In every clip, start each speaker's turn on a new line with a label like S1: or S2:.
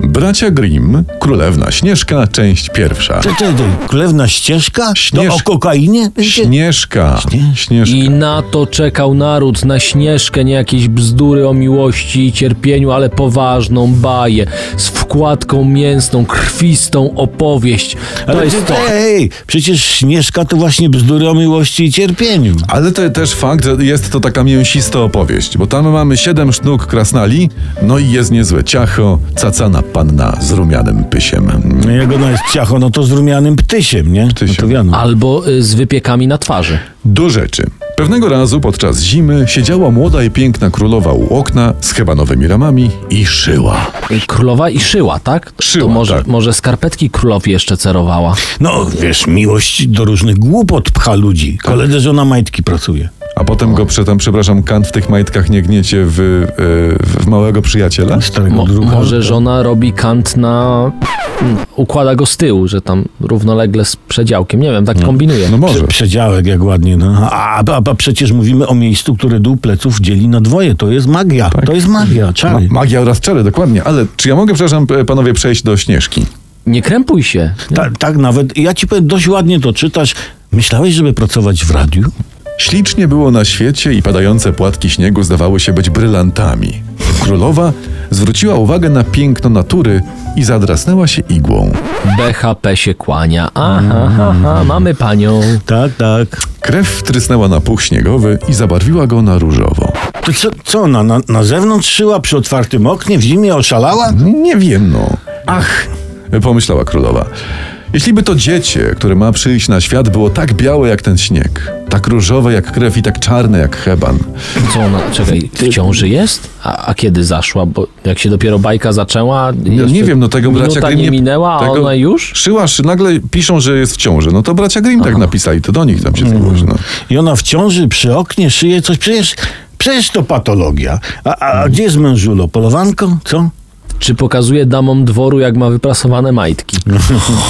S1: Bracia Grimm, Królewna Śnieżka, część pierwsza.
S2: To, to, to, królewna ścieżka?
S1: Śnież-
S2: To o kokainie?
S1: Śnieżka. Śnieżka.
S3: I na to czekał naród, na śnieżkę, nie jakieś bzdury o miłości i cierpieniu, ale poważną baję z wkładką mięsną, krwistą opowieść. To
S2: Ale
S3: jest
S2: ty,
S3: to.
S2: Ej, przecież Śnieżka to właśnie bzdury o miłości i cierpieniu.
S1: Ale to też fakt, że jest to taka mięsista opowieść, bo tam mamy siedem sznuk krasnali, no i jest niezłe ciacho, cacana panna z rumianym pysiem.
S2: No jak ona jest ciacho, no to z rumianym ptysiem, nie?
S1: Ptysiem.
S2: No to wiadomo.
S3: Albo y, z wypiekami na twarzy.
S1: Do rzeczy. Pewnego razu podczas zimy siedziała młoda i piękna królowa u okna z hebanowymi ramami i szyła.
S3: Y, Królowa i szyła, tak?
S1: Szyła,
S3: to może,
S1: tak.
S3: może skarpetki królowi jeszcze cerowała.
S2: No wiesz, miłość do różnych głupot pcha ludzi. Koledze żona majtki pracuje.
S1: A potem go, przetam, przepraszam, kant w tych majtkach nie gniecie w, e, w małego przyjaciela?
S2: Starego
S3: Mo,
S2: drucha.
S3: może żona robi kant na. mm, układa go z tyłu, że tam równolegle z przedziałkiem. Nie wiem, tak kombinuje.
S1: No może.
S2: Prze- Przedziałek, jak ładnie. No. A, a, a przecież mówimy o miejscu, które dół pleców dzieli na dwoje. To jest magia. To jest magia,
S1: Ma-
S2: czary.
S1: magia oraz czary, dokładnie. Ale czy ja mogę, przepraszam, p- panowie, przejść do Śnieżki?
S3: Nie krępuj się.
S2: Ta, tak nawet, ja ci powiem, dość ładnie to czytasz. Myślałeś, żeby pracować w radiu?
S1: Ślicznie było na świecie i padające płatki śniegu zdawały się być brylantami. Królowa zwróciła uwagę na piękno natury i zadrasnęła się igłą.
S3: BHP się kłania. Aha, aha, mamy panią.
S2: Tak, tak.
S1: Krew wtrysnęła na puch śniegowy i zabarwiła go na różowo.
S2: To co, co ona na, na zewnątrz szyła przy otwartym oknie, w zimie oszalała?
S1: Nie wiem, no. Ach, pomyślała królowa. Jeśli by to dziecię, które ma przyjść na świat, było tak białe jak ten śnieg, tak różowe jak krew i tak czarne jak heban.
S3: Co ona, czekaj, w ciąży jest? A, a kiedy zaszła? Bo jak się dopiero bajka zaczęła,
S1: No,
S3: jeszcze
S1: nie wiem, no tego bracia
S3: minuta
S1: Grimm
S3: nie minęła, a
S1: tego-
S3: ona już?
S1: Szyła, szy, nagle piszą, że jest w ciąży. No to bracia Grimm tak napisali, to do nich tam się
S3: Mm.
S1: zgłosi. No.
S2: I ona w ciąży, przy oknie szyje coś. Przecież, przecież to patologia. A, a, a gdzie jest mężulo? Polowanko? Co?
S3: Czy pokazuje damom dworu, jak ma wyprasowane majtki?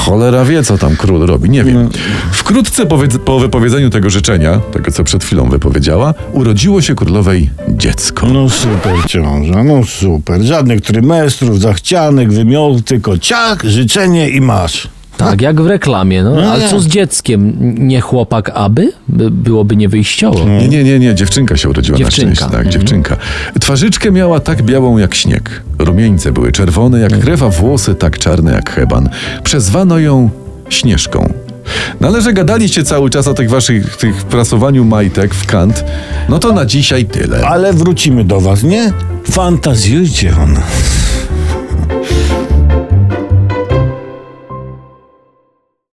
S1: Cholera wie, co tam król robi, nie
S3: No.
S1: wiem. Wkrótce po, wy- po wypowiedzeniu tego życzenia, tego co przed chwilą wypowiedziała, urodziło się królowej dziecko.
S2: No super ciąża, no super. Żadnych trymestrów, zachcianek, wymiotów, tylko ciach, życzenie i masz.
S3: Tak, jak w reklamie. No, ale co z dzieckiem? Nie chłopak, aby? By- Byłoby niewyjściowo.
S1: Nie, nie, nie, nie, dziewczynka się urodziła
S3: Dziewczynka.
S1: na szczęście. Tak, dziewczynka. Twarzyczkę miała tak białą jak śnieg. Rumieńce były czerwone jak krew, a włosy tak czarne jak heban. Przezwano ją Śnieżką. No ale że gadaliście cały czas o tych waszych, tych prasowaniu majtek w kant, no to na dzisiaj tyle.
S2: Ale wrócimy do was, nie? Fantazjujcie ona.